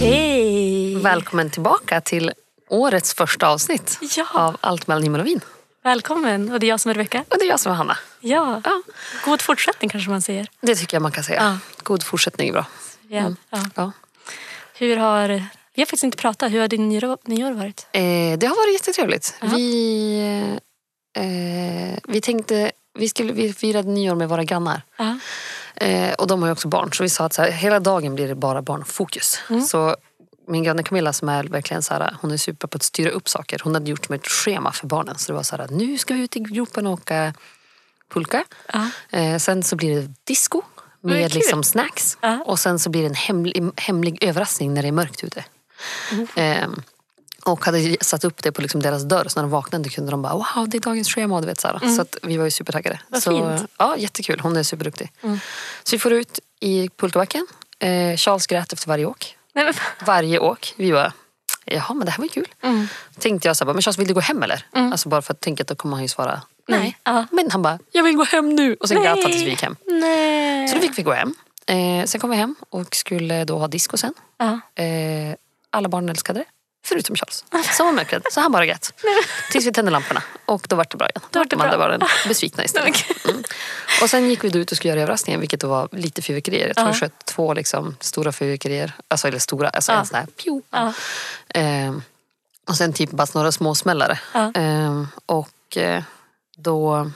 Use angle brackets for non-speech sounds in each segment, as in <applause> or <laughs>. Hej! Välkommen tillbaka till årets första avsnitt Ja. av Allt mellan himmel och vin. Välkommen! Och det är jag som är Rebecka. Och det är jag som är Hanna. Ja. Ja. God fortsättning kanske man säger. Det tycker jag man kan säga. Ja. God fortsättning är bra. Ja. Ja. Ja. Hur har... Vi har faktiskt inte pratat. Hur har din nyår, nyår varit? Eh, det har varit jättetrevligt. Ja. Vi, eh, vi tänkte, vi, skulle, vi firade nyår med våra grannar. Ja. Eh, och de har ju också barn. Så vi sa att så här, hela dagen blir det bara barnfokus. Mm. Så min granne Camilla som är verkligen så här, hon är super på att styra upp saker. Hon hade gjort med ett schema för barnen. Så det var så här, nu ska vi ut i gropen och åka pulka. Ja. Eh, sen så blir det disco Men med kul. liksom snacks. Ja. Och sen så blir det en hemlig, hemlig överraskning när det är mörkt ute. Mm. Ehm, och hade ju satt upp det på liksom deras dörr så när de vaknade kunde de bara wow det är dagens schema. Du vet, så, här. så att vi var ju supertaggade. Mm. Vad så, fint. Mm. Ja, jättekul. Hon är superduktig. Så vi får ut i pulkabacken. Eh, Charles grät efter varje åk. Nej, men, Varje åk. Vi bara jaha men det här var ju kul. Mm. Tänkte jag så här, bara, men Charles vill du gå hem eller? Alltså bara för att tänka att då kommer han ju svara nej. nej. Ja. Men han bara jag vill gå hem nu. Och sen grät han tills vi gick hem. Nej. Så då fick vi gå hem. Eh, sen kom vi hem och skulle då ha disco sen. Ja. Eh, alla barn älskade det. Förutom Charles. Som var mörkrädd. Så han <laughs> bara grät. Tills vi tände lamporna. Och då var det bra igen. Då vart var det de andra bra. barnen <laughs> besvikna istället. Mm. Och sen gick vi då ut och skulle göra överraskningen. Vilket då var lite fyrverkerier. Jag tror Ja. vi sköt två liksom, stora fyrverkerier. Alltså eller stora. Alltså Ja. en sån här pju. Ja. Eh, och sen typ bara några småsmällare. Ja. Eh, och eh, då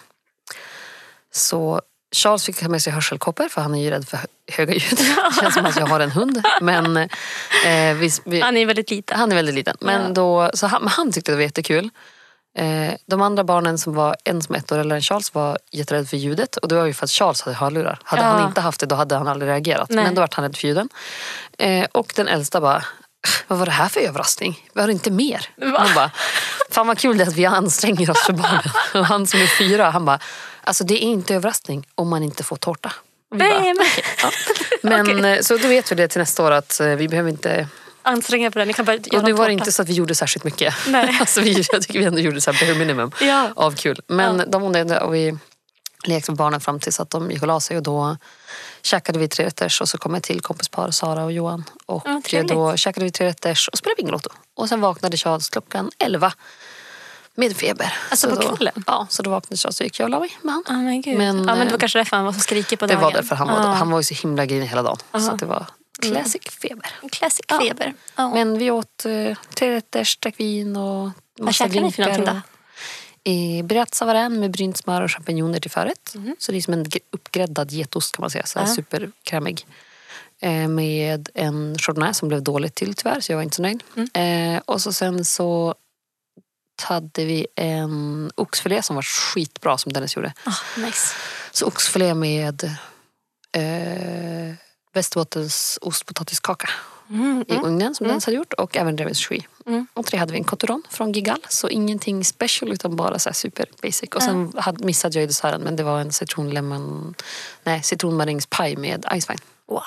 så Charles fick ta med sig hörselkoppor för han är ju rädd för hö- höga ljud. Det känns som att jag har en hund. Men, eh, vi, vi, Han är väldigt liten. han är väldigt liten. Men, Ja. då, så han, men han tyckte det var jättekul. Eh, de andra barnen som var en som är ett år äldre än Charles var jätterädd för ljudet. Och det var ju för att Charles hade hörlurar. Hade Ja. han inte haft det då hade han aldrig reagerat. Nej. Men då var han rädd för ljuden. Eh, och den äldsta bara, "Äh, vad var det här för överraskning? Var det inte mer? Hon bara, fan vad kul det är att vi anstränger oss för barnen. <laughs> och han som är fyra, han bara, alltså det är inte överraskning om man inte får tårta. Och vi bara, Nej, men <laughs> Men eh, så då vet vi det till nästa år att eh, vi behöver inte anstränga på den. Ni kan bara göra och nu någon var tårta. det inte så att vi gjorde särskilt mycket. Nej. <laughs> alltså vi, jag tycker vi ändå gjorde så här bare minimum Ja. av kul. Men Ja. de undrade och vi lekte med barnen fram tills att de gick och la sig och då käkade vi trerätters och så kom ett till kompispar, Sara och Johan. Och Ja, Mm, trevligt. då käkade vi trerätters och spelade Bingolotto. Och sen vaknade Charles klockan 11 med feber. Alltså på då, kvällen? Ja, så då vaknade Charles och gick jag och la mig med han. Ja, men, gud. Men, ja, men det eh, var kanske därför han var så skrikig på Det dagen. var därför han var då. Ja. Han var ju så himla grinig hela dagen. Så Aha. Mm. att det var classic feber. Classic Ja. feber. Ja. Men vi åt eh, trerätters, drack vin och massa käkade ni för drinkar. någonting och, Eh, Bratsa varann med brynt smör och champinjoner till förrätt. Så det är som en gr- uppgräddad getost kan man säga. Så här Mhm. Ja. Superkrämig. Eh, med en chardonnay som blev dåligt till tyvärr så jag var inte så nöjd. Mm. Eh, och så sen så hade vi en oxfilé som var skitbra som Dennis gjorde. Ah, nice. Så oxfilé med eh, Västerbottens ostpotatiskaka Mm, i ugnen som Dennis hade gjort och även revensky. Mm. Och tre hade vi en cotteron från Gigal. Så ingenting special utan bara så här super basic. Och sen Mm. hade, missade jag ju desserten men det var en citronlemon... Nej, citronmarängspaj med icewine. Wow.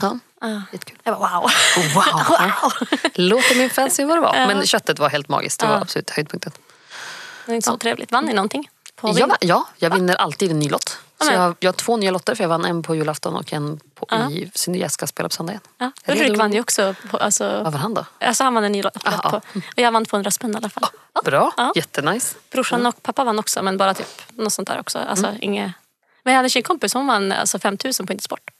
Ja, Ja. jättekul. Jag bara wow. Wow! <laughs> Låter min fancy vad det var. Men köttet var helt magiskt. Det var Ja. absolut höjdpunkten. Det är inte så trevligt. Vann ni någonting? På Jag, va- ja, jag vinner alltid en ny lott. Så Amen. jag, har- jag har två nya lotter för jag vann en på julafton och en på, i sin jag ska spela på söndag igen. Ja. Redo? Ulrik vann ju också. På, alltså, Vad vann han då? alltså han vann en ny lott Aha. på. Och jag vann 200 spänn i alla fall. Bra, Ja. jättenice. Brorsan och pappa vann också men bara typ något sånt där också. Alltså, Mm. inget... Men jag hade en tjejkompis som vann alltså 5000 på Intersport.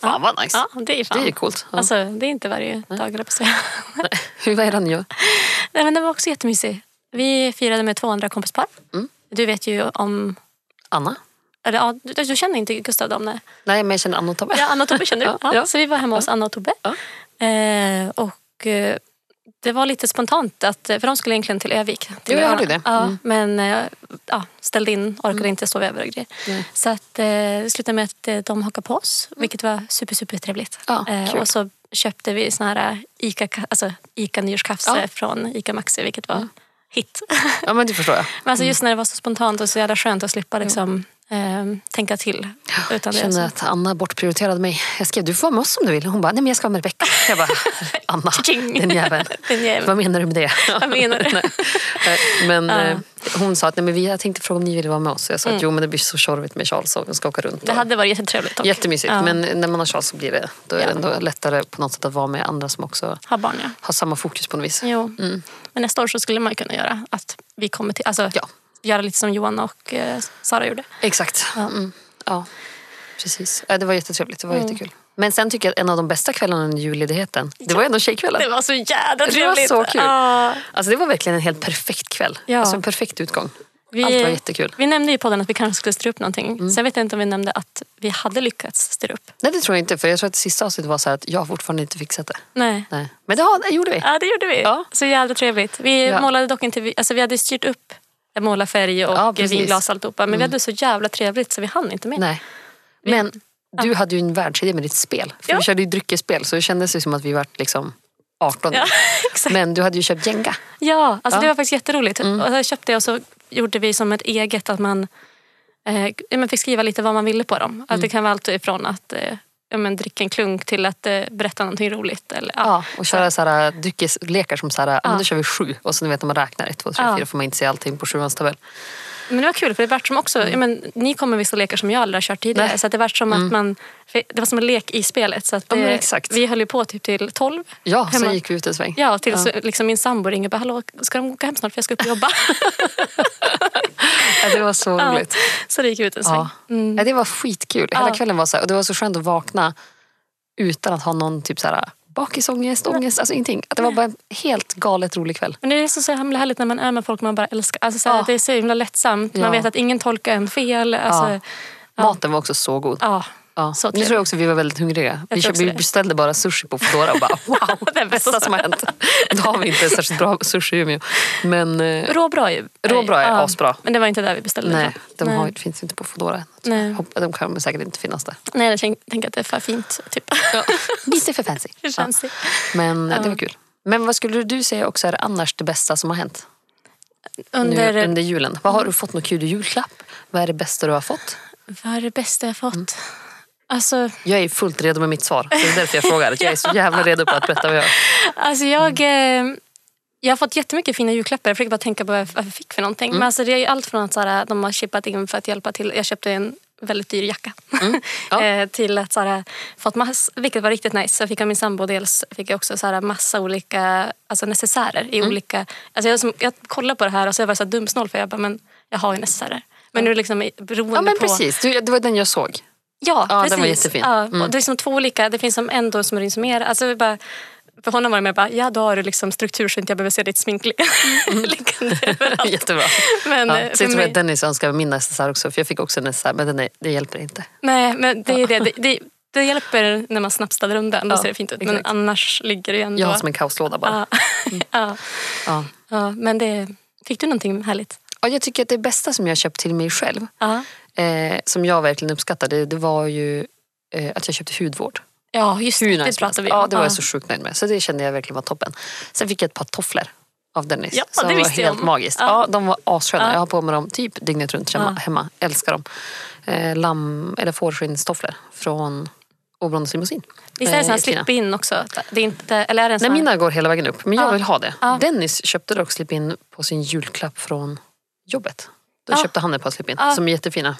Fan vad nice. Ja, det är ju fan. Det är ju coolt. <laughs> Ja. Alltså, det är inte varje dag eller på att säga. <laughs> Hur var den ju? Nej men den var också jättemysig. Vi firade med två andra kompispar. Mm. Du vet ju om... Anna? Eller, ja, du, du känner inte Gustav dem nej? Nej, men jag känner Anna och Tobbe. Ja, Anna och Tobbe känner du. <laughs> Ja, Ja, ja. Så vi var hemma hos Anna och Tobbe. Eh, och eh, det var lite spontant, att, eh, för de skulle egentligen till Övik. Till Jo, jag Öarna. hörde det. Mm. Ja, Men eh, ja, ställde in, orkade inte sova över och grejer. Så att, eh, det slutade med att eh, de hakade på oss, vilket var super, super trevligt. Mm. Eh, Ja, kul. och så köpte vi såna här eh, Ica, alltså Ica nyårskaffe från Ica Maxi, Mm. vilket var hit. <laughs> Ja, men det förstår jag. Mm. Men alltså just när det var så spontant och så jävla skönt att slippa liksom, eh, tänka till. Utan Jag det är känner så- att Anna bortprioriterade mig. Jag skrev du får vara med oss om du vill. Hon bara nej men jag ska vara med Rebecca. <laughs> Jag bara Anna, Tjing. <laughs> den jäveln. Den jäveln. Vad menar <laughs> du med det? Vad menar du? <laughs> Nej. Eh, men Ja. Mm. eh, hon sa att nej, men vi, jag tänkte fråga om ni ville vara med oss. Jag sa att jo men det blir så tjorvigt med Charles och vi ska åka runt. Det och- hade varit jättetrevligt dock. Jättemysigt Ja. men när man har Charles så blir det, då är Ja. det ändå lättare på något sätt att vara med andra som också Ha barn ja. har samma fokus på något vis. Jo. Men nästa år så skulle man ju kunna göra att vi kommer till, alltså Ja. göra lite som Johan och eh, Sara gjorde. Exakt. Ja. Mm. ja. Precis. Ja, det var jättetrevligt. Det var Mm. jättekul. Men sen tycker jag att en av de bästa kvällarna under julledigheten, det var ändå tjejkvällen. Det var så jädra Det var trevligt! så kul. Ja. Alltså det var verkligen en helt perfekt kväll. Ja. Alltså en perfekt utgång. Vi- Allt var jättekul. Mm. Vi nämnde ju i podden att vi kanske skulle styra upp någonting. Sen vet jag inte om vi nämnde att vi hade lyckats styra upp. Nej det tror jag inte för jag tror att sista avsnittet var så här att jag har fortfarande inte fixat det. Nej. Nej. Men det, har, det gjorde vi. Ja, det gjorde vi. Ja. Så jävla trevligt. Vi Ja. målade dock inte... vi- Alltså, vi hade styrt upp målarfärg och Ja, precis. Mm. vinglas och alltihopa. Men vi hade så jävla trevligt så vi hann inte med. Nej. Men du hade ju en världsidé med ditt spel. För Ja. vi körde ju dryckesspel så det kändes ju som att vi var liksom 18. Ja, <laughs> exakt. Men du hade ju köpt Jenga. Ja, alltså Ja. Mm. det var faktiskt jätteroligt. Och jag köpte det och så gjorde vi som ett eget att man, eh, ja, man fick skriva lite vad man ville på dem. Mm. Att det kan vara allt ifrån att eh, ja, men dricka en klunk till att eh, berätta någonting roligt. Eller, ja. Ja, och köra så här, äh, dryckeslekar som så här, äh, ja. men då kör vi sju och så ni vet när man räknar ett, två, tre, Ja. fyra får man inte se allting på sjuans tabell. Men det var kul för det vart som också, ja, men, ni kommer med vissa lekar som jag aldrig har kört tidigare. Mm. Nej. Mm. Så att det vart som att man, för det var som en lek i spelet. Så att Ja, men eh, exakt. Vi höll ju på typ till tolv. Ja, sen Hemma. gick vi ut en sväng. Ja, tills liksom min sambo ringer och bara hallå, ska de gå hem snart för jag ska upp och jobba? Ja, det var så Ja. <laughs> roligt. <laughs> Så det gick ut en sväng. Mm. Ja. Ja, det var skitkul. Hela Ja. kvällen var så här, och det var så skönt att vakna utan att ha någon typ så här bakisångest, ångest, alltså ingenting. Att det var bara en helt galet rolig kväll. Men det är så, så himla härligt när man är med folk man bara älskar. Alltså, så här, Ja. Det är så himla lättsamt. Ja. Man vet att ingen tolkar en fel. Alltså, Maten var också så god. ja. Ja. så nu tror jag också vi var väldigt hungriga. Vi, tror köpte, också vi det. beställde bara sushi på Foodora och <laughs> bara wow, Det det är bästa som har hänt. Då har vi inte särskilt bra sushi i Umeå. Men eh, Råbra är ju... Råbra är asbra. Men det var inte där vi beställde. nej, de nej. har, det finns inte på Foodora. än. Nej. Hoppa- De kan säkert inte finnas där. nej, jag tänk- tänker att det är för fint. Typ. <laughs> <laughs> Lite för fancy. Hur känns det? Men eh, det var kul. Men vad skulle du säga också är annars det bästa som har hänt? Under, nu, under julen. Vad har du fått något kul i julklapp? Vad är det bästa du har fått? Vad är det bästa jag fått? Mm. Alltså, Jag är fullt redo med mitt svar. Det är därför jag frågar. Jag är <laughs> så jävla redo på att berätta vad jag har. alltså jag... Mm. Eh, jag har fått jättemycket fina julklappar. Jag försöker bara tänka på vad jag, vad jag fick för någonting. Mm. Men alltså, det är ju allt från att så här, de har chippat in för att hjälpa till. Jag köpte en väldigt dyr jacka. Mm. <laughs> Ja. Eh, till att så här, fått mass, vilket var riktigt nice. Så jag fick av min sambo dels fick jag också så här, massa olika alltså necessärer. Mm. I olika, alltså jag, som, jag kollade på det här och så var jag så här dumsnål för jag bara, men jag har ju necessärer. Men nu är det liksom i- beroende Ja men på... precis, du, det var den jag <laughs> såg. Ja, Ja, den precis. var jättefin. Mm. Ja, och det är liksom två olika. Det finns som en då som är insumerad. Alltså vi bara, för honom var det mer bara, ja då har du liksom struktur så inte jag behöver se ditt smink li- <laughs> liggande överallt. Jättebra. Men, Mm. Ja, eh, så för jag tror mig- att Dennis önskar min necessär också för jag fick också en necessär men den är, det hjälper inte. Nej, men det är det. Det, det, det hjälper när man snabbt ställer undan. Då Ja, ser det fint ut. Men exakt. annars ligger det ju ändå... Jag har som Mm. en kaoslåda bara. ja. <laughs> ja, Ja. ja, men det... Fick du någonting härligt? Ja, jag tycker att det bästa som jag köpt till mig själv Ja, eh, som jag verkligen uppskattade det var ju eh, att jag köpte hudvård. ja just det. Hur nice Det som pratade helst. vi om. Ja, det var jag så sjukt nöjd med. Så det kände jag verkligen var toppen. Sen fick jag ett par tofflor av Dennis. Ja, som det var visste jag helt om. magiskt. Ja. Ja. de var assköna. Ja. Jag har på mig dem typ dygnet runt hemma. Ja. hemma. Älskar dem. Eh, lamm eller fårskinnstofflor från Åbrones limousin. Visst är det sån här i Kina. slip-in också? Det är inte, eller är det en eh, Nej, sån här... mina går hela vägen upp. Men jag Ja. vill ha det. Ja. Dennis köpte dock slip-in på sin julklapp från jobbet. Då Ja. köpte han ett par slip-in Ja. som är jättefina.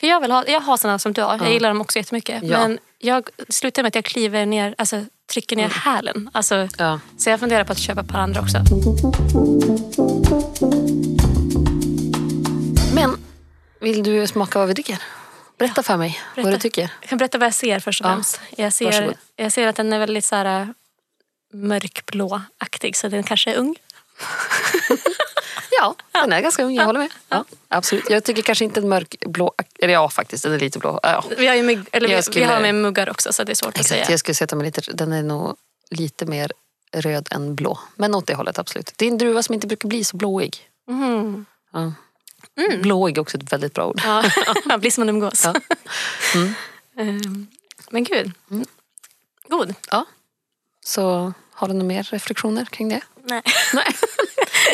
För jag, vill ha, jag har såna som du har. Jag gillar dem också jättemycket. Ja. Men jag slutar med att jag kliver ner, alltså trycker Mm. ner hälen. Alltså, Ja. Så jag funderar på att köpa ett par andra också. Men vill du smaka vad vi dricker? Berätta för mig vad du Berätta. tycker. Jag kan berätta vad jag ser först och Ja. främst. Jag, ser, Varsågod. jag ser att den är väldigt så här, äh, mörkblå-aktig, så den kanske är ung. Ja, den är ganska ung. Jag håller med. Ja, absolut. Jag tycker kanske inte en mörkblå... Eller ja, faktiskt. Den är lite blå. Ja. Vi har, ju mugg, eller vi, Jag skulle- vi har med muggar också, så det är svårt att Exakt. säga. Jag skulle sätta mig lite... Den är nog lite mer röd än blå. Men åt det hållet, absolut. Det är en druva som inte brukar bli så blåig. Mhm. Ja. Mm. Blåig är också ett väldigt bra ord. Ja, <laughs> man blir som man umgås. Ja. Mm. <laughs> Ehm, Men gud. God. Ja. Så har du några mer reflektioner kring det? Nej, <laughs> Nej.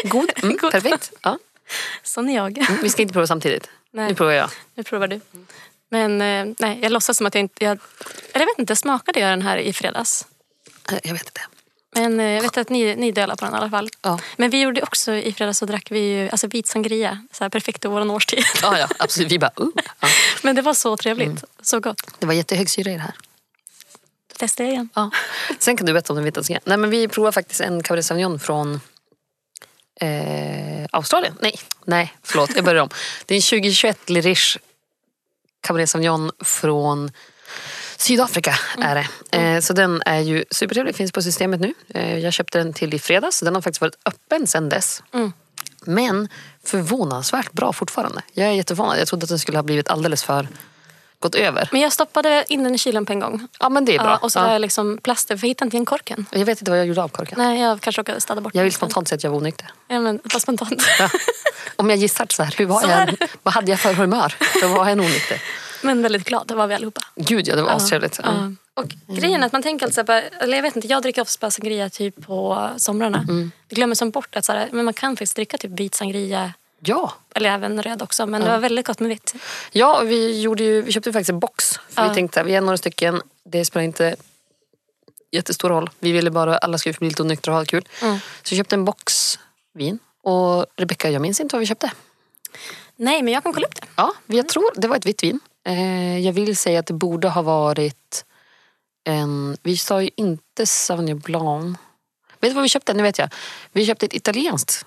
God. Mm, God. <laughs> Perfekt. Ja. sån är jag. Mm, Vi ska inte prova samtidigt. Nej, Nu provar jag. nu provar du. Men eh, nej, jag låtsas som att jag inte... Jag, eller jag vet inte, smakade jag den här i fredags? Eh, Jag vet inte. Men eh, jag vet att ni, ni delar på den i alla fall. Ja, Men vi gjorde också, i fredags så drack vi ju alltså vit sangria. Så här, perfekt i vår årstid. <laughs> ja, ja absolut. Vi bara, uh. ja. Men det var så trevligt. Mm. Så gott. Det var jättehög syra i det här. Testa igen. Ja. Sen kan du berätta om den vita sangria. Nej men vi provar faktiskt en Cabernet Sauvignon från eh, Australien. Nej, nej, förlåt. Jag börjar om. Det är en 2021 Lirish Cabernet Sauvignon från Sydafrika är det. Eh, så den är ju supertrevlig, finns på systemet nu. Eh, jag köpte den till i fredags, så den har faktiskt varit öppen sedan dess. Mm. Men förvånansvärt bra fortfarande. Jag är jätteförvånad. Jag trodde att den skulle ha blivit alldeles för gått över. Men jag stoppade in den i kylen på en gång. Ja men det är bra. Ja, och så la ja. jag liksom plaster, för jag hittade inte igen korken. Jag vet inte vad jag gjorde av korken. Nej, jag kanske råkade städa bort Jag vill den. liksom. spontant säga att jag var onykter. Ja, men vad spontant. <laughs> Ja. Om jag gissar så här, hur var Så jag? här. Vad hade jag för humör? Då var jag nog onykter. men väldigt glad, det var vi allihopa. Gud ja, det var astrevligt. Ja. Ja. Och grejen är att man tänker alltid så här, bara- eller jag vet inte, jag dricker ofta sangria typ på somrarna. Mm. Jag glömmer som bort att så här, men man kan faktiskt dricka typ vit sangria, ja. eller även röd också, men det var väldigt gott med vitt. Ja, vi, gjorde ju, vi köpte ju faktiskt en box. För Vi Ja. tänkte vi är några stycken, det spelar inte jättestor roll. Vi ville bara alla skulle bli lite onyktra och ha kul. Mm. Så vi köpte en box vin. Och Rebecka, jag minns inte vad vi köpte. Nej, men jag kan kolla upp det. Ja, Mm. jag tror det var ett vitt vin. Eh, jag vill säga att det borde ha varit en... Vi sa ju inte Sauvignon Blanc. Vet du vad vi köpte? Nu vet jag. Vi köpte ett italienskt,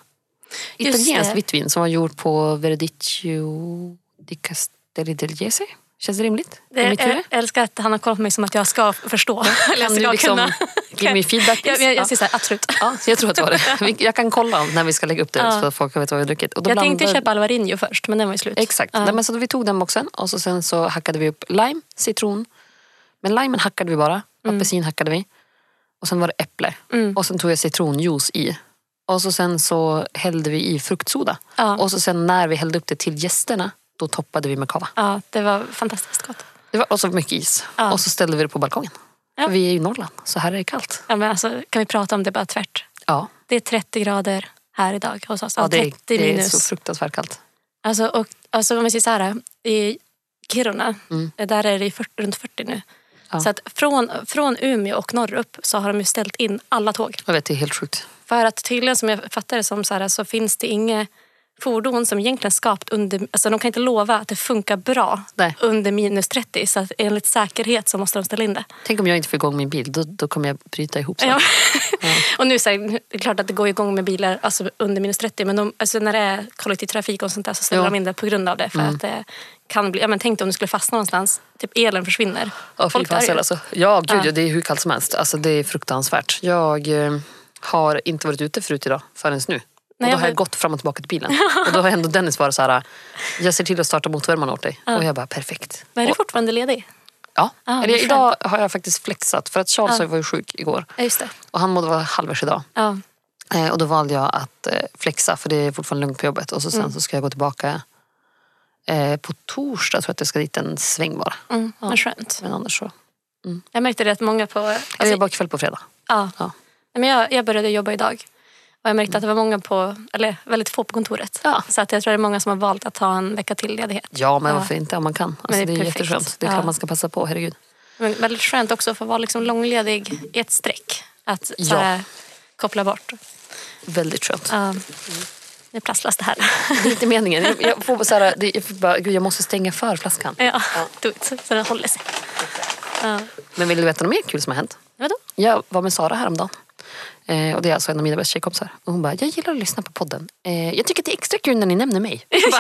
Just italienskt det. vitt vin som var gjort på Verdicchio di Castelli del Jese. Känns det rimligt? I mitt det huvud? jag älskar att han har kollat på mig som att jag ska förstå. <laughs> eller jag Kan ska du liksom <laughs> kunna. ge mig feedback? Jag, jag, Ja. jag säger så här, absolut. Ja, så jag tror att det var det. Vi- Jag kan kolla när vi ska lägga upp det så att folk vet vad vi har druckit. Och då Jag tänkte blandar- köpa Alvarinho först, men den var ju slut. Exakt. Ja. Nej, men så vi tog den boxen och så sen så hackade vi upp lime, citron. Men limen hackade vi bara. Mm. Apelsin hackade vi. Och sen var det äpple. Och sen tog jag citronjuice i. Och så sen så hällde vi i fruktsoda. Ja. Och så sen när vi hällde upp det till gästerna, då toppade vi med kava. Ja, det var fantastiskt gott. Det var, och så mycket is. Ja. Och så ställde vi det på balkongen. Ja. Vi är ju i Norrland, så här är det kallt. Ja, men alltså, kan vi prata om det bara tvärt? Ja, Det är 30 grader här idag hos oss. ja Alltså, det, 30 det är minus. så fruktansvärt kallt. Alltså, och, alltså om vi säger så här, i Kiruna, eh, Mm. där är det ju 40, runt 40 nu. Ja. Så att från, från Umeå och norrupp så har de ju ställt in alla tåg. Jag vet, det är helt sjukt. För att tydligen, som jag fattar det som, så, här, så finns det inga fordon som egentligen skapat under... Alltså de kan inte lova att det funkar bra Nej. under minus 30. Så att enligt säkerhet så måste de ställa in det. Tänk om jag inte får igång min bil, då, då kommer jag bryta ihop. sen. Ja. <laughs> och nu så här, det är klart att det går igång med bilar alltså, under minus 30 men de, alltså, när det är kollektivtrafik och sånt där så ställer Ja. Mm. de in det på grund av det. För att det kan bli, ja, men tänk dig om du skulle fastna någonstans, typ elen försvinner. Ja, Folk Folk dör ju. alltså. ja gud, Ja. ja. det är hur kallt som helst. Alltså, det är fruktansvärt. Jag eh, har inte varit ute förut idag förrän nu. Nej, och då jag har har- jag gått fram och tillbaka <laughs> till bilen. och då har ändå Dennis varit så här, jag ser till att starta motorvärmaren åt dig. Och jag bara, perfekt. Men är du Och, fortfarande ledig? ja. Ah, vad Eller, skönt. Ah. idag har jag faktiskt flexat för att Charles var ju sjuk igår. Ja, just det. Och han mådde vara halvvägs idag. Ja. Eh, och då valde jag att eh, flexa för det är fortfarande lugnt på jobbet. Och så sen Mm. så ska jag gå tillbaka eh, på torsdag tror jag att jag ska dit en sväng bara. Mm, Vad skönt. Men annars så. Jag märkte det att många på... Eller Alltså, jag bara kväll på fredag. ja. Ja. Men jag, jag började jobba idag. Och jag märkte att det var många på, eller väldigt få på kontoret. Ja. Så att jag tror det är många som har valt att ta en vecka till ledighet. Ja, men Ja. varför inte om man kan? Alltså, det är det är, perfekt. jätteskönt. Det är klart Ja. man ska passa på, herregud. Men väldigt skönt också att få vara liksom långledig i ett streck. Att så Ja. här, koppla bort. Väldigt skönt. Ja. Nu prasslas <laughs> det här. Det är inte meningen. Jag- Jag, får så här, det, jag, får bara, gud, jag måste stänga för flaskan. ja, do it. Så den håller sig. Ja. Men vill du veta något mer kul som har hänt? Vadå? Jag var med Sara häromdagen. Eh, och det är alltså en av mina bästa tjejkompisar. Och hon bara, jag gillar att lyssna på podden. Eh, jag tycker att det är extra kul när ni <laughs> nämner mig. Jag bara,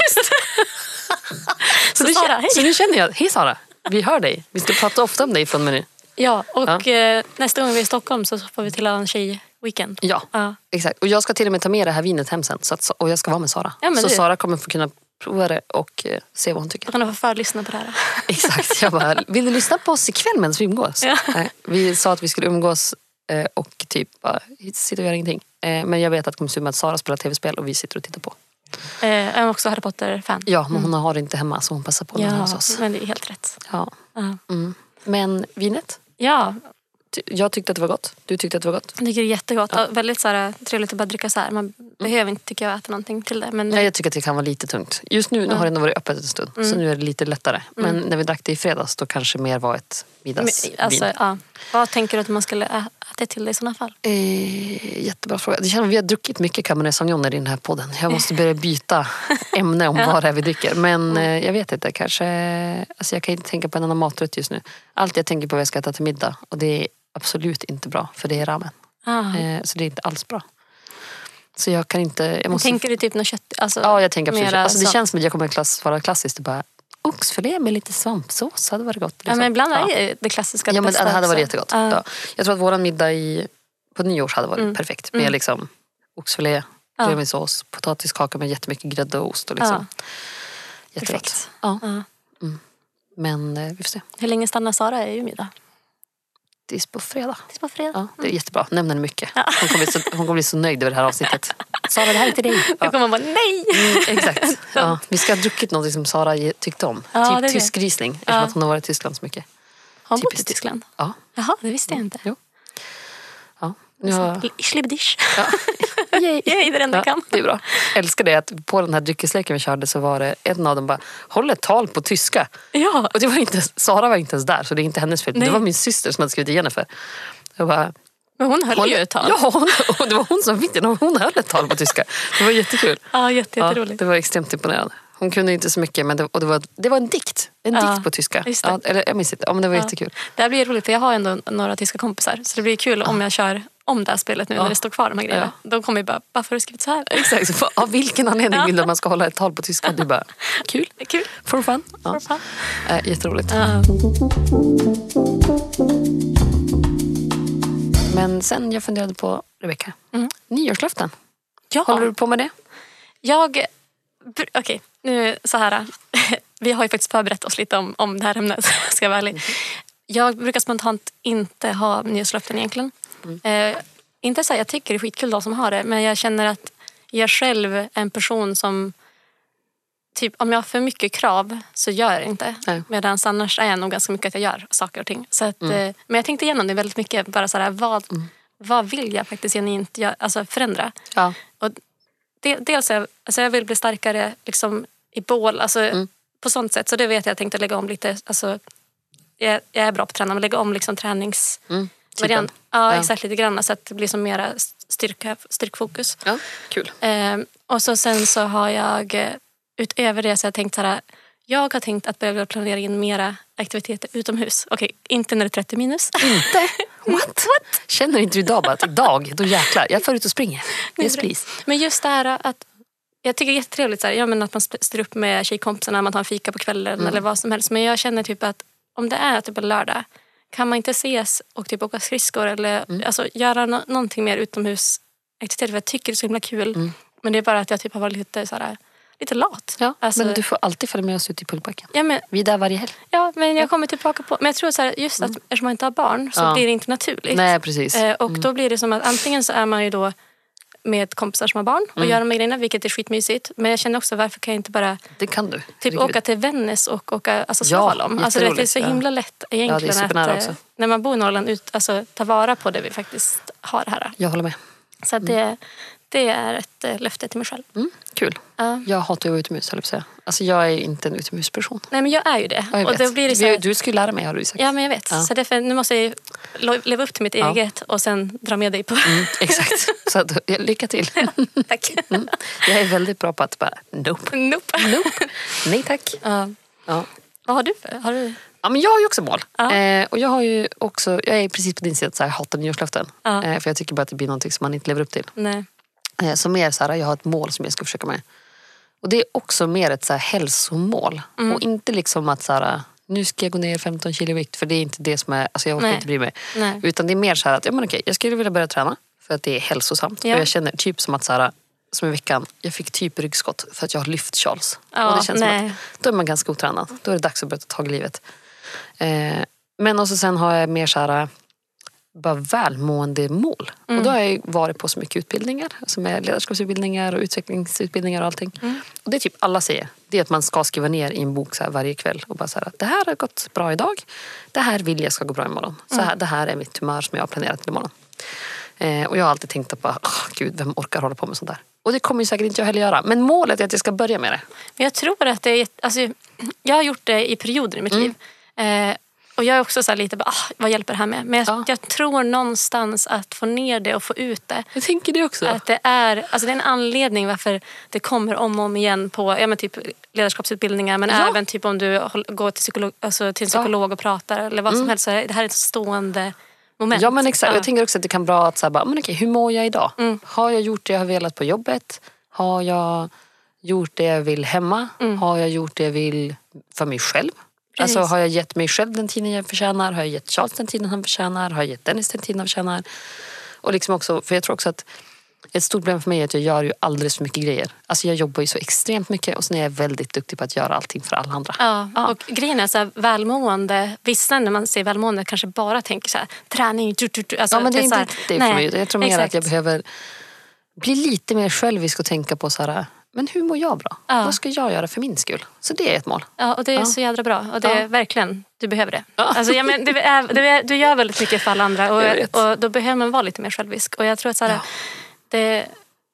Så, nu Sara, känner- hej. så nu känner jag, hej Sara, vi hör dig. Vi ska prata ofta om dig från och med nu. Ja, och Eh, nästa gång vi är i Stockholm så får vi till en tjejweekend. Ja, Ja. exakt. Och jag ska till och med ta med det här vinet hem sen. Så att, och jag ska vara med Sara. Ja, men så du- Sara kommer få kunna prova det och eh, se vad hon tycker. Då kan du få förlyssna på det <laughs> här. Exakt. Jag bara, vill du lyssna på oss ikväll medan vi umgås? Ja. Nej, vi sa att vi skulle umgås eh, och typ bara sitta och göra ingenting. Eh, Men jag vet att det kommer se ut med att Sara spelar tv-spel och vi sitter och tittar på. Eh, jag är också Harry Potter-fan. Ja, men Mm. hon har det inte hemma så hon passar på att vara hos oss. men det är helt rätt. Ja. Ja. Mm. Men vinet? ja, Ty- Jag tyckte att det var gott. Du tyckte att det var gott. jag tycker det är jättegott. Och väldigt så här, trevligt att bara dricka så här. Man Mm. behöver inte tycker jag äta någonting till det. Men Nej, jag tycker att det kan vara lite tungt. Just nu, nu har det ändå varit öppet en stund Mm. så nu är det lite lättare. Men när vi drack det i fredags då kanske mer var ett middagsvin. Men, alltså, ja. Vad tänker du att man skulle ä- äta till det i sådana fall? Eh, jättebra fråga. Det känns, vi har druckit mycket Cabernet Sauvignon i den här podden. Jag måste <laughs> börja byta ämne om vad det är vi dricker. Mm. Men eh, jag vet inte, kanske... Alltså jag kan inte tänka på en annan maträtt just nu. Allt jag tänker på är vad jag ska äta till middag och det är absolut inte bra för det är ramen. Ah. Eh, så det är inte alls bra. Så jag kan inte... Jag måste, Tänker du typ något kött? Alltså, ja, jag tänker absolut. mera Alltså, det så- känns som att jag kommer klass, vara klassiskt och bara oxfilé med lite svampsås hade varit gott. ja, liksom. men ibland Ja. är ju det klassiska Ja, men det bästa hade varit också. jättegott. Ja. Mm. Ja. Jag tror att vår middag i, på nyårs hade varit perfekt. Med liksom oxfilé, Ja. tiramisås, potatiskaka med jättemycket grädde och ost. Och liksom. Jättegott. Perfekt. Ja. Ja. Men eh, vi får se. Hur länge stannar Sara i Umeå då? Tills på fredag. Tills på fredag. Ja, det är jättebra. Nämn henne mycket. Hon kommer, bli så, hon kommer bli så nöjd över det här avsnittet. <laughs> Sara, det här är till dig. Då Ja. kommer man bara nej! Mm, Exakt. Ja, vi ska ha druckit något som Sara ge- tyckte om. Ja, det är typ det. tysk riesling. Eftersom att hon har varit i Tyskland så mycket. Har hon bott i Typiskt. Tyskland? Ja. Jaha, det visste jag inte. Jo. ja. Nu har, L- Schlibdisch. <laughs> ja. <laughs> Yay. Jag är det enda jag kan. Det är bra. Jag älskar det att på den här dryckesleken vi körde så var det en av dem bara håll ett tal på tyska. Ja. Och det var inte, ens- Sara var inte ens där så det är inte hennes fel. Nej. Det var min syster som hade skrivit igen för. Jag bara, Men hon höll håll- ju ett tag. Ja, hon, och det var hon som fick den och hon höll ett tal på tyska. Det var jättekul. Ja, jätte, Ja, <laughs> jätteroligt. det var extremt imponerande. Hon kunde inte så mycket men det, och det, var, det var en dikt. En Ja, dikt på tyska. just det. Ja, eller, jag minns inte. Ja, men det var jättekul. Det här blir ju roligt för jag har ändå några tyska kompisar så det blir kul om jag kör om det här spelet nu när det står kvar de här grejerna. De kommer ju bara, varför har du skrivit så här? Exakt, så av vilken anledning vill du att man ska hålla ett tal på tyska? <laughs> Du bara, kul. Det är kul. For fun. Ja. For fun. Äh, jätteroligt. Ja. Men sen jag funderade på, Rebecka, nyårslöften. Mm. Ja. Håller du på med det? Jag... br- Okej, nu så här. <laughs> Vi har ju faktiskt förberett oss lite om, om det här ämnet, <laughs> ska jag vara ärlig. Jag brukar spontant inte ha nyårslöften egentligen. Eh, inte så här, jag tycker det är skitkul de som har det, men jag känner att jag själv är en person som... Typ, om jag har för mycket krav så gör jag det inte. Nej. Medan annars är jag nog ganska mycket att jag gör saker och ting. Så att, eh, Men jag tänkte igenom det väldigt mycket. Bara så här, vad, vad vill jag faktiskt genuint gör, alltså förändra? Ja. Och de, dels är jag, alltså jag vill bli starkare liksom, i bål, alltså, på sånt sätt. Så det vet jag, jag tänkte lägga om lite. Alltså, jag, jag är bra på att träna, men lägga om liksom, tränings... Mm. variant. ja, Ja. exakt lite grann. Så att det blir som mera styrka, styrkfokus. ja. Kul. Ehm, och så sen så har jag eh, utöver det så har jag tänkt så här. Jag har tänkt att börja planera in mera aktiviteter utomhus. Okej, inte när det är 30 minus. <laughs> Inte? What? Känner inte du idag bara att idag, då jäklar, jag far ut och springer. Yes please. Men just det här att jag tycker det är jättetrevligt så här, ja, men att man sp- står upp med tjejkompisarna, man tar en fika på kvällen Mm. eller vad som helst. Men jag känner typ att om det är typ en lördag, kan man inte ses och typ åka skridskor eller Mm. alltså, göra no- någonting mer utomhus? För jag tycker det är så himla kul. Men det är bara att jag typ har varit lite, så här, lite lat. Mm. Ja, alltså, Men du får alltid följa med oss ut i pulkbacken. ja, men, Vi är där varje helg. ja, men jag kommer tillbaka på... Men jag tror så här, just att eftersom man inte har barn så Mm. Ja. blir det inte naturligt. Nej, precis. Mm. Eh, Och då blir det som att antingen så är man ju då med kompisar som har barn Mm. och gör de här grejerna, vilket är skitmysigt. Men jag känner också varför kan jag inte bara Det kan du. typ, åka till Vännäs och åka alltså, Ja, slalom? alltså, du vet, det är så jätteroligt, ja. himla lätt det är egentligen supernära att eh, också. när man bor i Norrland ut, alltså, ta vara på det vi faktiskt har här. Jag håller med. Så att det, det är ett eh, löfte till mig själv. Mm, kul. Ja. Jag hatar att vara utomhus, höll jag på att säga. Alltså, jag är ju inte en utomhusperson. Nej men jag är ju det. Ja, jag och vet. då blir det så Vi- här, Du ska ju lära mig, har du sagt. Ja men jag vet. Ja. Så därför, nu måste jag ju lo- leva upp till mitt eget och sen dra med dig på... Mm. Exakt. Så att, ja, lycka till. <laughs> Tack. Mm. Jag är väldigt bra på att bara, <laughs> nope, nope. <laughs> nope, nej tack. Ja. Ja. Vad har du för? Har du... Ja, men jag har ju också mål. Ja. Eh, och jag, har ju också, jag är precis på din sida, att så här, jag hatar nyårslöften. Ja. Eh, för jag tycker bara att det blir någonting som man inte lever upp till. Nej. Eh, så mer så här, jag har ett mål som jag ska försöka med. Och det är också mer ett så här, hälsomål. Mm. Och inte liksom att så här, nu ska jag gå ner 15 kilo i vikt. För det är inte det som är, alltså jag orkar Nej. inte bry mig. Nej. Utan det är mer så här att, ja men okej, jag skulle vilja börja träna. För att det är hälsosamt. Ja. Och jag känner typ som att så här, som i veckan, jag fick typ ryggskott för att jag har lyft Charles. Ja, och det känns som nej. att då är man ganska otränad. Då är det dags att börja ta tag i livet. Eh, men också sen har jag mer så här eh, bara välmående mål. Mm. Och då har jag ju varit på så mycket utbildningar. Som är ledarskapsutbildningar och utvecklingsutbildningar och allting. Mm. Och det är typ alla säger. Det är att man ska skriva ner i en bok så här varje kväll. Och bara så här, det här har gått bra Mm. idag. Det här vill jag ska gå bra imorgon. Så här, Det här är mitt humör som jag har planerat till imorgon. Eh, Eh, och jag har alltid tänkt att bara, "Åh, gud, vem orkar hålla på med sånt där? Och det kommer ju säkert inte jag heller göra. Men målet är att jag ska börja med det. Men jag tror att det är... jätte- Alltså, jag har gjort det i perioder i mitt Mm. liv. Eh, och jag är också så här lite, bara, ah, vad hjälper det här med? Men jag, Ja. jag tror någonstans att få ner det och få ut det. Jag tänker det också. Att det, är, alltså det är en anledning varför det kommer om och om igen på ja, men typ ledarskapsutbildningar men Ja. även typ om du håll- går till, psykolog, alltså till en psykolog och pratar eller vad som helst. Så är det här är ett stående moment. Mm. liksom. Ja men Ja. exakt. Mm. Jag tänker också att det kan vara bra att så här, bara, men okej, hur mår jag idag? Har jag gjort det jag har velat på jobbet? Har jag gjort det jag vill hemma? Har jag gjort det jag vill för mig själv? Mm. Precis. Alltså har jag gett mig själv den tiden jag förtjänar? Har jag gett Charles den tiden han förtjänar? Har jag gett Dennis den tiden han förtjänar? Och liksom också, för jag tror också att ett stort problem för mig är att jag gör ju alldeles för mycket grejer. Alltså jag jobbar ju så extremt mycket och sen är jag väldigt duktig på att göra allting för alla andra. Ja, och grejen är så här, välmående, vissa när man säger välmående kanske bara tänker så här, träning, du, du, du. Alltså, Ja, men det är så inte här, riktigt det nej, för mig. Jag tror mer exakt. att jag behöver bli lite mer självisk och tänka på så här, men hur mår jag bra? Ja. Vad ska jag göra för min skull? Så det är ett mål. Ja, och det är så jävla bra. Och det är Ja. verkligen, du behöver det. Alltså, ja, men, du, är, du, är, du gör väldigt mycket för alla andra Jag vet. och, och då behöver man vara lite mer självisk. Och jag tror att så här, Ja. det,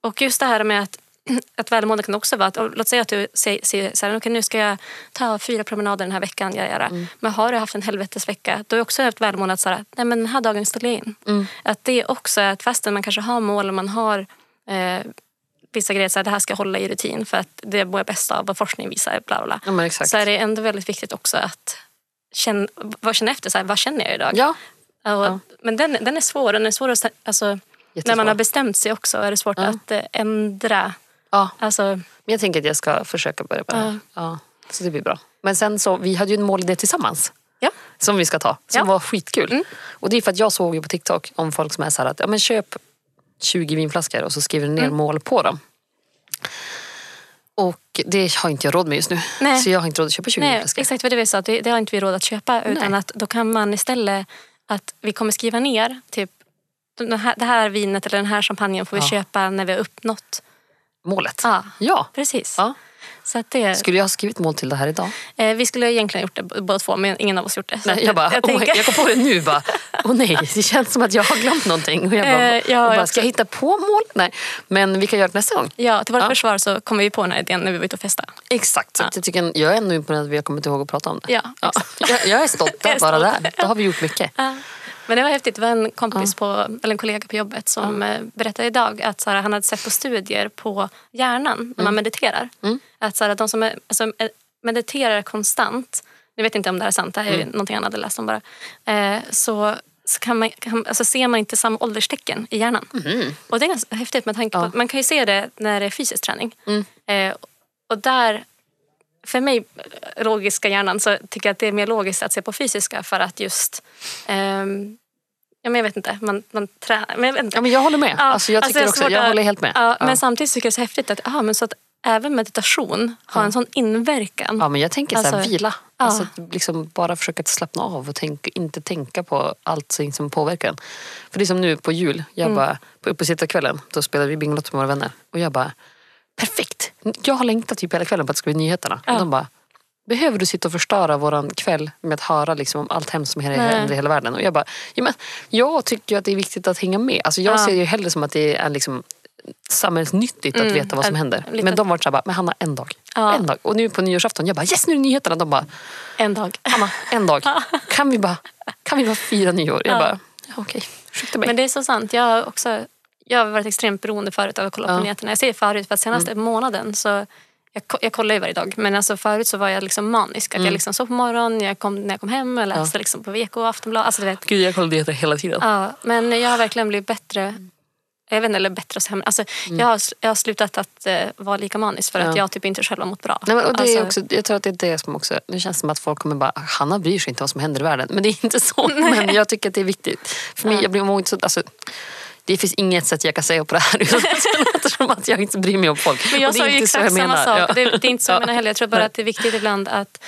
och just det här med att, att välmående kan också vara att, och låt säga att du säger, säger så här, "Okej, nu ska jag ta fyra promenader den här veckan. Jag göra. Mm. Men har du haft en helvetesvecka, då är också ett välmående att så här, nej men den här dagen ställer jag in. Mm. Att det är också att fastän man kanske har mål och man har eh, vissa grejer, så här, det här ska jag hålla i rutin för att det mår jag bäst av vad forskning visar. Bla bla, bla Ja, men exakt. så är det ändå väldigt viktigt också att känna, vad känna efter. Så här, vad känner jag idag? Ja, Och, Men den, den är svår. Den är svår att, alltså, när Jättesvår. man har bestämt sig också är det svårt att eh, ändra. ja. Alltså, Men jag tänker att jag ska försöka börja på det här. Ja. Ja. Så det blir bra. Men sen så, vi hade ju en målidé tillsammans. ja. som vi ska ta, som Ja. Mm. var skitkul. Och det är för att jag såg ju på TikTok om folk som är så här att ja, men köp 20 vinflaskor och så skriver du ner Mm. mål på dem. Och det har inte jag råd med just nu. Nej. Så jag har inte råd att köpa 20 Nej, vinflaskor. exakt vad det vi sa, att det, det har inte vi råd att köpa. Utan Nej. att då kan man istället att vi kommer skriva ner typ den här, det här vinet eller den här champagnen får vi Ja. köpa när vi har uppnått. Målet. Ja, Ja. precis. Ja. Så att det, Skulle jag ha skrivit mål till det här idag? eh, vi skulle egentligen ha gjort det b- båda två men ingen av oss gjort det. Så Nej, att jag <laughs> bara, jag, tänker- jag kom på det nu bara. Åh nej, det känns som att jag har glömt någonting. Och jag bara, Eh, ja, och bara jag ska jag hitta på mål? Nej, men vi kan göra det nästa gång. Ja, till vårt Ja. försvar så kom vi på den här idén när vi var ute och festade. Exakt, så att jag, tycker, jag är ändå imponerad att vi har kommit ihåg att prata om det. Ja, Jag, jag är stolt Jag är bara stolt. där. Då har vi gjort mycket. Ja. Men det var häftigt, det var en kompis, på, eller en kollega på jobbet som eh, berättade idag att så här, han hade sett på studier på hjärnan när man mediterar. Att så här, de som är, alltså, eh, mediterar konstant, jag vet inte om det här är sant, det här är ju någonting han hade läst om bara, eh, så, så kan man, kan, alltså, ser man inte samma ålderstecken i hjärnan. Och det är ganska häftigt med tanke på Ja. Mm. att man kan ju se det när det är fysisk träning. Eh, och där för mig, eh, logiska hjärnan, så tycker jag att det är mer logiskt att se på fysiska för att just... ehm, ja, men jag vet inte. Man, man trä, men jag vet inte. Ja, men jag håller med. Ja, alltså, jag, tycker jag har också, svårt jag att- håller helt med. Ja, Ja. Men samtidigt tycker jag det är så häftigt att, aha, men så att även meditation har en sån inverkan. Ja, men jag tänker så här, Alltså, vila. Alltså, att liksom bara försöka att slappna av och tänka, inte tänka på allt som liksom påverkar en. För det är som nu på jul, jag Mm. bara, på uppesittarkvällen, då spelade vi Bingolotto med våra vänner. Och jag bara, perfekt! Jag har längtat typ hela kvällen på att det ska bli nyheterna. Och de bara, behöver du sitta och förstöra våran kväll med att höra liksom om allt hemskt som händer Nej. i hela världen? Och jag bara, ja, men, jag tycker ju att det är viktigt att hänga med. Alltså, jag Ja. ser ju hellre som att det är liksom samhällsnyttigt att veta vad som Att- händer. lite- Men de var såhär, bara, men Hanna en dag. Ja. En dag. Och nu på nyårsafton, jag bara yes nu är det nyheterna. De bara, En dag. Hanna en dag. Kan vi bara, kan vi bara fira nyår? Jag bara, ja, okej, ursäkta mig. Men det är så sant. Jag har, också, jag har varit extremt beroende förut av att kolla på nyheterna. Jag säger förut för att senaste Mm. månaden så jag, ko- jag kollar ju varje dag, men alltså förut så var jag liksom manisk. Att Mm. Jag liksom såg på morgonen, jag kom, när jag kom hem, jag läste liksom på VK och Aftonbladet. Alltså, du vet, Gud jag kollar nyheter hela tiden. Ja, men jag har verkligen blivit bättre. Jag vet inte, eller bättre och sämre. Alltså, jag, har, jag har slutat att eh, vara lika manisk för att Mm. Ja. jag typ inte själv har mått bra. Nej, men, och det är Alltså, också, jag tror att det är det som också, nu känns det som att folk kommer bara, Hanna bryr sig inte vad som händer i världen. Men det är <laughs> inte så. Men jag tycker att det är viktigt. För mig, jag blir mår inte så, alltså, det finns inget sätt jag kan säga på det här <laughs> utan det låter som att jag inte bryr mig om folk. Men Och jag det är sa ju inte så jag exakt samma menar. sak. Ja. Det, det är inte så jag Ja. menar heller. Jag tror bara att det är viktigt ibland att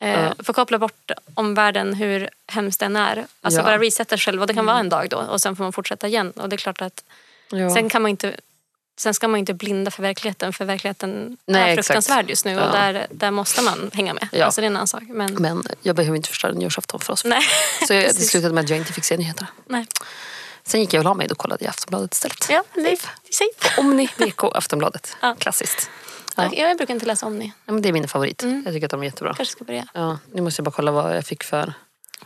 eh, få koppla bort omvärlden hur hemskt den är. Alltså Ja. Mm. bara resetta sig själv. Och det kan vara en dag då och sen får man fortsätta igen. Och det är klart att Ja. sen kan man inte Sen ska man inte blinda för verkligheten, för verkligheten Nej, är exakt. fruktansvärd just nu Ja. och där, där måste man hänga med. Ja. Alltså det är en annan sak. Men, Men jag behöver inte förstöra nyårsafton för oss. nej. <laughs> Så jag, det Precis. slutade med att jag inte fick se nyheterna. nej. Sen gick jag och la mig och kollade i Aftonbladet istället. Ja, safe. safe. Omni, VK, Aftonbladet. Ja. Klassiskt. Ja. Jag brukar inte läsa om ni. Ja, men det är min favorit. Mm. Jag tycker att de är jättebra. kanske ska börja. Ja, nu måste jag bara kolla vad jag fick för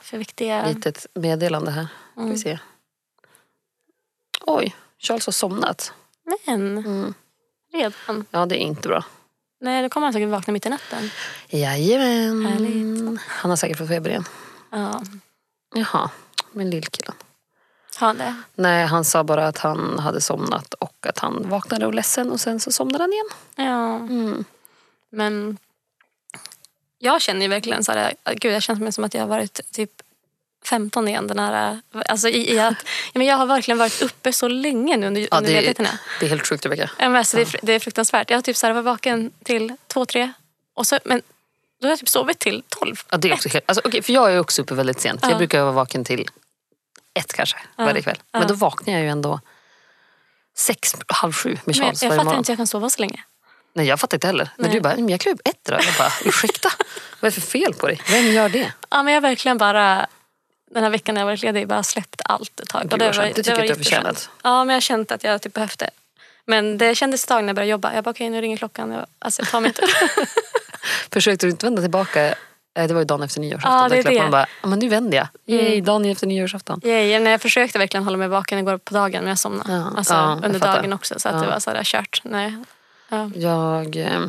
För viktiga... litet meddelande här. Ska Mm. vi se. Oj, Charles har somnat. Men, Mm. redan. Ja, det är inte bra. Nej, då kommer han säkert vakna mitt i natten. Jajamän. Härligt. Han har säkert fått feber igen. Ja, Jaha, men lillkillen. har han det? Nej, han sa bara att han hade somnat och att han vaknade och ledsen och sen så somnade han igen. Ja. Mm. Men jag känner ju verkligen så här, att gud jag känner mig som att jag har varit typ 15 igen. Den här, alltså i, i att, ja, men jag har verkligen varit uppe så länge nu under, under det, ledigheterna. det är helt sjukt Rebecka. Ja, men Alltså, det, är, fr- det är fruktansvärt. Jag har typ så här, varit vaken till två, tre. Och så, men då har jag typ sovit till tolv. Ja, det är också helt, alltså, okej, för jag är också uppe väldigt sent. Jag brukar vara vaken till ett kanske varje kväll. Men då vaknar jag ju ändå sex, halv sju med Men jag, Charles jag varje fattar morgon. inte hur jag kan sova så länge. Nej, jag fattar inte heller. När Nej. du bara, "Mm, jag klev upp ett idag. Jag bara, ursäkta? Vad är det för fel på dig? Vem gör det? Ja, men jag har verkligen bara den här veckan när jag varit ledig bara släppt allt ett tag. Gud, vad skönt. Det tycker jag att du har jätteskönt. förtjänat. Ja, men jag har känt att jag typ behövde. Men det kändes ett tag när jag började jobba. Jag bara okej nu ringer klockan. Jag, alltså, jag tar mig <laughs> inte. Försökte du inte vända tillbaka? Eh, Det var ju dagen efter nyårsafton. Ja, det Där är klappade det. Mm. Man bara, "Ja, men nu vänder jag. Yay, dagen efter nyårsafton. Yay, när jag försökte verkligen hålla mig vaken igår på dagen men jag somnade. Ja, alltså, ja, jag under fattar. dagen också. Så att det var så här kört. Nej. Ja. Jag eh,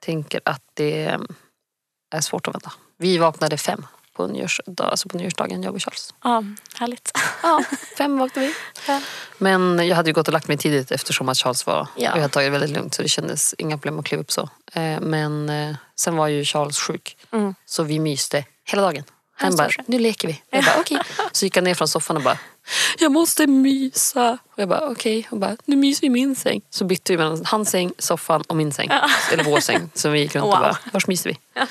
tänker att det eh, är svårt att vända. Vi vaknade fem på, nyårsdag, alltså på nyårsdagen, jag och Charles. ja, <laughs> härligt. Ja, fem vaknade vi. Ja. Men jag hade ju gått och lagt mig tidigt eftersom att Charles var... Ja. Och jag hade tagit det väldigt lugnt så det kändes inga problem att kliva upp så. Eh, Men eh, sen var ju Charles sjuk. Mm. Så vi myste hela dagen. Han så bara, skönt. nu leker vi. Jag bara, <laughs> okej. Så gick han ner från soffan och bara, jag måste mysa. Och jag bara, okej. Och bara, nu myser vi i min säng. Så bytte vi mellan hans säng, soffan och min säng. Eller vår säng. Så vi gick runt och Wow. bara, vars myser vi?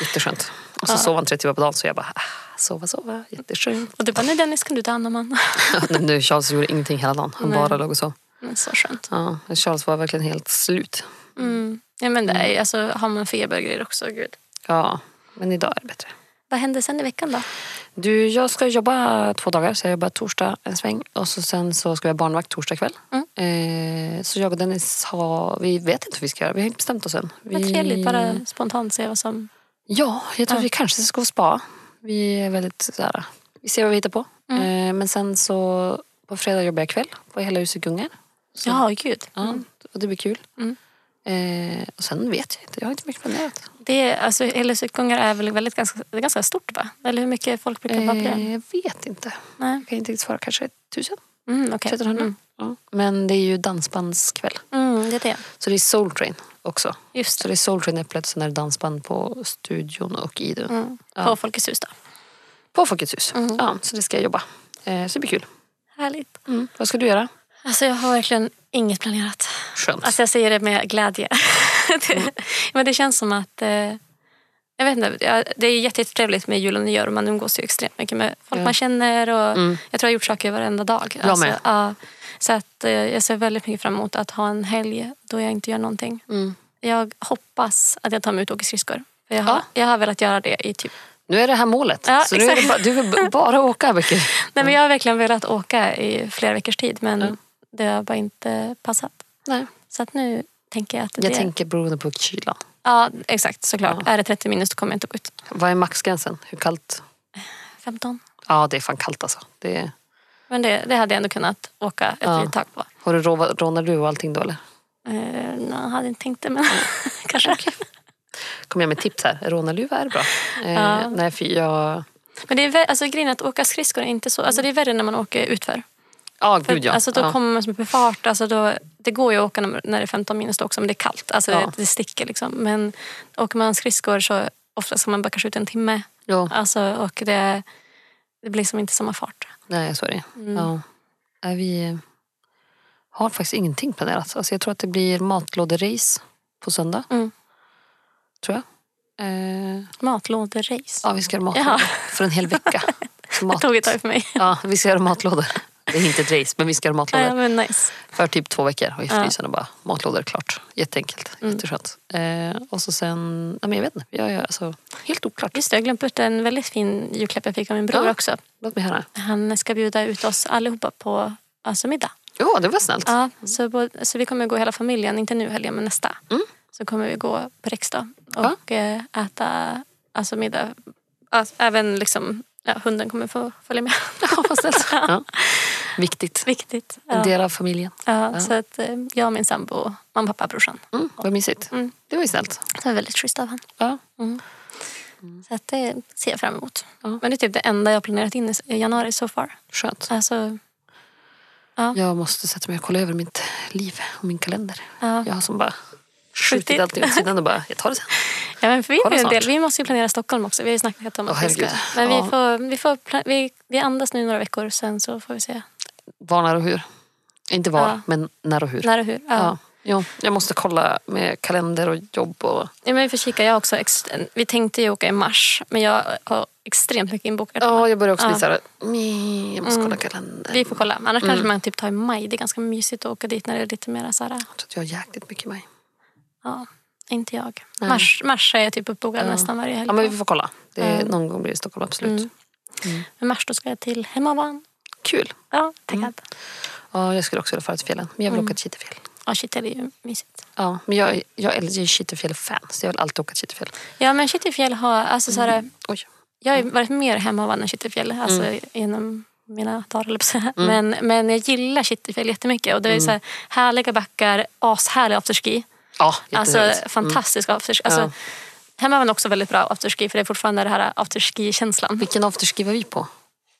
Jätteskönt. Och så sov han tre timmar på dagen så jag bara, ah, sova, sova, jätteskönt. <laughs> Och du bara nej Dennis kan du ta hand om honom. nu, Charles gjorde ingenting hela dagen. Han Nej. bara låg och sov. <laughs> Men så skönt. Ja, Charles var verkligen helt slut. Mm. Ja, men det är, ju- alltså, har man feber och grejer också. Gud. Ja, men idag är det bättre. Vad hände sen i veckan då? Du, jag ska jobba två dagar, så jag jobbar torsdag en sväng och så sen så ska jag ha barnvakt torsdag kväll. Mm. Eh, så jag och Dennis har, vi vet inte vad vi ska göra, vi har inte bestämt oss än. Men Vi- trevligt, bara spontant se vad som... Ja, jag tror vi kanske ska gå och spa. Vi är väldigt såhär, vi ser vad vi hittar på. Mm. Eh, men sen så på fredag jobbar jag kväll på Hela huset gungar. Så, Ja, gud. ja, och det blir kul. Mm. Eh, och sen vet jag inte, jag har inte mycket planerat. Det är, alltså, Ellusutgångar är väl väldigt ganska, det är ganska stort va? Eller hur mycket folk brukar vara på det? Eh, jag vet inte. Nej. Jag kan inte riktigt svara. Kanske tusen, Mm, okej. trettonhundra. Mm. Ja. Men det är ju dansbandskväll. Mm, det är det. Så det är Soul Train också. Just Så det. det är Soul Train Äpplet, sen är det dansband på studion och Idun. Mm. På Folkets hus då. På Folkets hus. Ja, så det ska jag jobba. Eh, så det blir kul. Härligt. Mm. Vad ska du göra? Alltså jag har verkligen inget planerat. Skönt. Alltså jag säger det med glädje. <laughs> det, Mm. Men det känns som att... Eh, jag vet inte, jag- det är jätte- jättetrevligt med jul och nyår. Man umgås ju extremt mycket med folk Ja. Mm. man känner. Och Jag tror jag har gjort saker varenda dag. Alltså, Jag med. ja. så att, eh, jag ser väldigt mycket fram emot att ha en helg då jag inte gör någonting. Mm. Jag hoppas att jag tar mig ut och åker skridskor. För Jag, har, jag har velat göra det i typ... Nu är det här målet. Ja, så nu är det exakt. bara, du vill b- bara åka <laughs> veckor. Nej, men jag har verkligen velat åka i flera veckors tid men det har bara inte passat. Nej. Så att nu tänker jag att det... Jag tänker beroende på kylan. Ja, exakt. Såklart. Är det 30 minus då kommer jag inte gå ut. Vad är maxgränsen? Hur kallt? 15. Ja, det är fan kallt alltså. Det är... Men det, det hade jag ändå kunnat åka ett Ja. litet tag på. Har du rova- rånar du och allting då eller? Eh, nej, jag hade inte tänkt det men <laughs> kanske. Kom jag med tips här. Rånarluva är bra. Eh, Ja. Nej, för jag... Men det är, vä- alltså, grejen är att åka skridskor är inte så... Alltså, det är värre när man åker utför. Ja, För, gud ja. alltså, då ja. kommer man som med fart. Alltså, då, det går ju att åka när när det är 15 minus då också men det är kallt. Alltså, Ja. det, det sticker liksom. Men åker man skridskor så ofta ska man bara kanske ut en timme. ja. Alltså, och det, det blir som inte samma fart. Nej, så är det. Mm. Ja. Nej, Vi eh, har faktiskt ingenting planerat. Alltså jag tror att det blir matlåderace på söndag. Mm. Tror jag. Eh, Matlåderace. ja, vi ska göra matlådor Jaha. <laughs> för en hel vecka. Så Det Mat, tog ett tag för mig. ja, vi ska göra matlådor. Det är inte ett race, men vi ska göra matlådor. <laughs> Ja, men nice. För typ två veckor och i Ja. Mm. frysen och bara matlådor klart. Jätteenkelt, jätteskönt. Eh, och så sen, ja, men jag vet inte, jag, jag, alltså, helt oklart. Just det, jag har glömt bort en väldigt fin julklapp jag fick av min bror Ja. också. Låt mig höra. Han ska bjuda ut oss allihopa på alltså, middag. Ja, det var snällt. Ja, så, bo- så vi kommer gå hela familjen, inte nu helgen men nästa. Mm. Så kommer vi gå på Riksdag och eh, äta alltså, middag. Alltså, även liksom, ja, hunden kommer få följa med. <laughs> Ja, vad snällt. <laughs> Ja. Viktigt. Viktigt. En Ja. del av familjen. Ja, Ja. Så att eh, jag, min sambo, mamma, pappa, brorsan. Mm, vad mysigt. Mm. Det var ju snällt. Det var väldigt schysst av han. Ja. Så att det ser jag fram emot. Ja. Men det är typ det enda jag har planerat in i- i januari so far. Skönt. Alltså, Jag måste sätta mig och kolla över mitt liv och min kalender. Ja. Jag har som bara skjutit Skjutit. allting åt sidan och bara, jag tar det sen. ja, men för vi, Kolla är en del, snart. vi måste ju planera Stockholm också. Vi har ju snackat om Åh, att vi ska... herregud. Men Ja. vi, får, vi, får plan- vi, vi andas nu några veckor, sen så får vi se Var, när och hur. Inte var, Ja. men när och hur. när och hur. Ja. Typ. Ja. Jo, jag måste kolla med kalender och jobb och Ja, men för kika, jag har också ex- vi tänkte ju åka i mars, men jag har extremt mycket inbokat. Ja, jag börjar också bli Ja. såhär, "Mm, jag måste kolla kalendern. Vi får kolla. Annars Mm. kanske man typ tar i maj. Det är ganska mysigt att åka dit när det är lite mer så här... Jag tror att jag har jäkligt mycket i mig. Ja, inte jag. Mars, mars är jag typ uppbokad nästan varje helg. Ja, men vi Mm. får kolla. Det är, Mm. Någon gång blir det i Stockholm, absolut. Men mars då ska jag till Hemavan. Kul. Ja, taggad. Mm. Ja, jag skulle också vilja fara till fjällen, men jag Mm. vill åka till Kittelfjäll. Ja, shit, det är ju mysigt. Ja, men jag, jag är ju Kittelfjäll-fan, så jag vill alltid åka till Kittelfjäll. Ja, men Kittelfjäll har... Alltså, så här, Oj. jag Mm. har ju varit mer Hemavan än Kittelfjäll. Alltså, genom mina dagar, höll jag på att säga. Mm. men, men jag gillar Kittelfjäll jättemycket. Och det är ju så här, härliga backar, ashärlig afterski. Ja, Alltså jättetrevligt. fantastisk afterski. Alltså, Mm. Ja. Hemma var den också väldigt bra afterski för det är fortfarande den här afterski-känslan. Vilken afterski var vi på?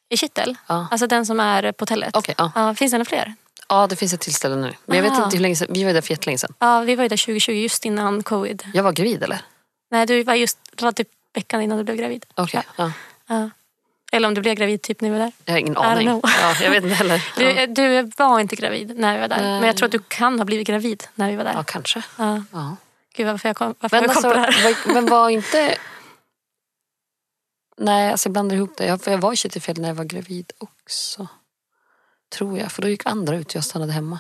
I Kittel, Mm. Ja. alltså den som är på hotellet. Okej, ja. finns det några fler? Ja, det finns ett tillställe nu. Men jag vet Ah. inte hur länge sedan. Vi var ju där för jättelänge sedan. Ja, vi var ju där 2020 just innan covid. Jag var gravid eller? Nej, du var just det var typ veckan innan du blev gravid. Okej. Ja. Ja. Eller om du blev gravid typ när vi var där. Jag har ingen don't aning. know. Ja, jag vet inte heller. <laughs> Du, Ja, du var inte gravid när vi var där. Nej. Men jag tror att du kan ha blivit gravid när vi var där. ja kanske. Ja. Ja. Gud varför jag kom, varför Men, jag kom alltså, på det här. var, men <laughs> var inte... Nej, alltså jag blandar ihop det. Jag, för jag var i Kittelfjäll när jag var gravid också. Tror jag. För då gick andra ut och jag stannade hemma.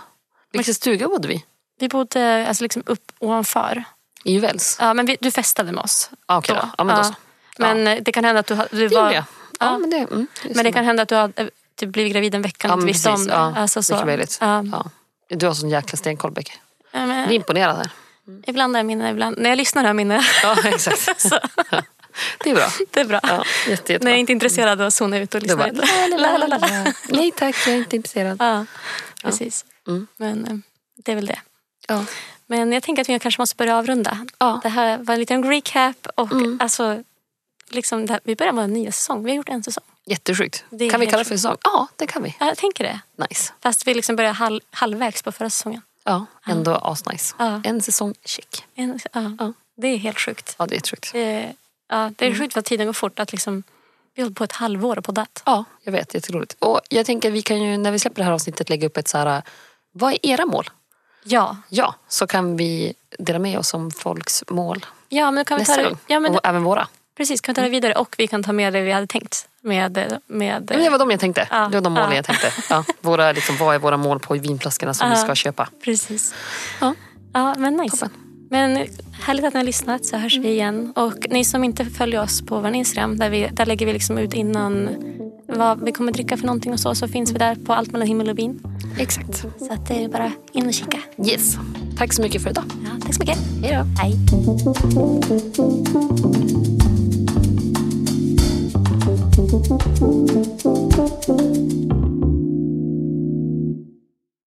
Vilken stuga bodde vi Vi bodde alltså, liksom upp ovanför. i? Juväls? Ja, men vi, du festade med oss. Ja, okej då. Ja, men då så. Men eh, det kan hända att du, ha- du Det var... gjorde jag. Ja, Ja. men det, mm, Men det kan hända att du har eh, typ blivit gravid en vecka och Ja, inte men visste om precis. det. Ja, Alltså, så. mycket möjligt. Ja. Ja. Du har sån jäkla stenkoll, Becky. Ja, Jag blir men, <laughs> imponerad här. ibland är minne, ibland... När jag lyssnar har jag minne. <laughs> Ja, exakt. så, Det är bra. det är bra. Ja, jätte, När jättebra. jag är inte intresserad av att zona ut och Du lyssna. bara, inte. la, la, la, la. Nej tack, jag är inte intresserad. Ja, precis. Mm. Men eh, det är väl det. Ja. Men jag tänker att vi kanske måste börja avrunda. Ja. Det här var en liten recap. Och, Mm. alltså, liksom det här, vi börjar med en ny säsong. Vi har gjort en säsong. Jättesjukt. Det är Kan vi helt kalla det för säsong? Ja, det kan vi. Ja, jag tänker det. Nice. Fast vi liksom börjar halv, halvvägs på förra säsongen. Ja, ändå asnice. Ja. En säsong chic. En, ja, Ja. Mm. Det är helt sjukt. Ja, det är sjukt. Det, ja, det är sjukt vad tiden går fort. Att liksom, vi har hållit på ett halvår och poddat. Ja, jag vet. Jätteroligt. Och jag tänker vi kan ju när vi släpper det här avsnittet lägga upp ett så här, vad är era mål? Ja, Ja, så kan vi dela med oss om folks mål ja men kan vi ta nästa det, gång. ja, men, Och även våra. precis. Kan vi ta det vidare och vi kan ta med det vi hade tänkt. Med, med, Ja, men det var de jag tänkte. Ja. Det var de målen Ja. jag tänkte. Ja, våra, liksom, vad är våra mål på vinflaskorna som vi Ja. ska köpa? Precis. Ja. Ja, men nice. Men härligt att ni har lyssnat så hörs vi igen. Och ni som inte följer oss på vår Instagram, där, vi, där lägger vi liksom ut innan vad vi kommer dricka för någonting och så, så finns vi där på allt mellan himmel och vin. Exakt. Så att det är bara in och kika. Yes. Tack så mycket för idag. Ja, tack så mycket. Hej då. Hej.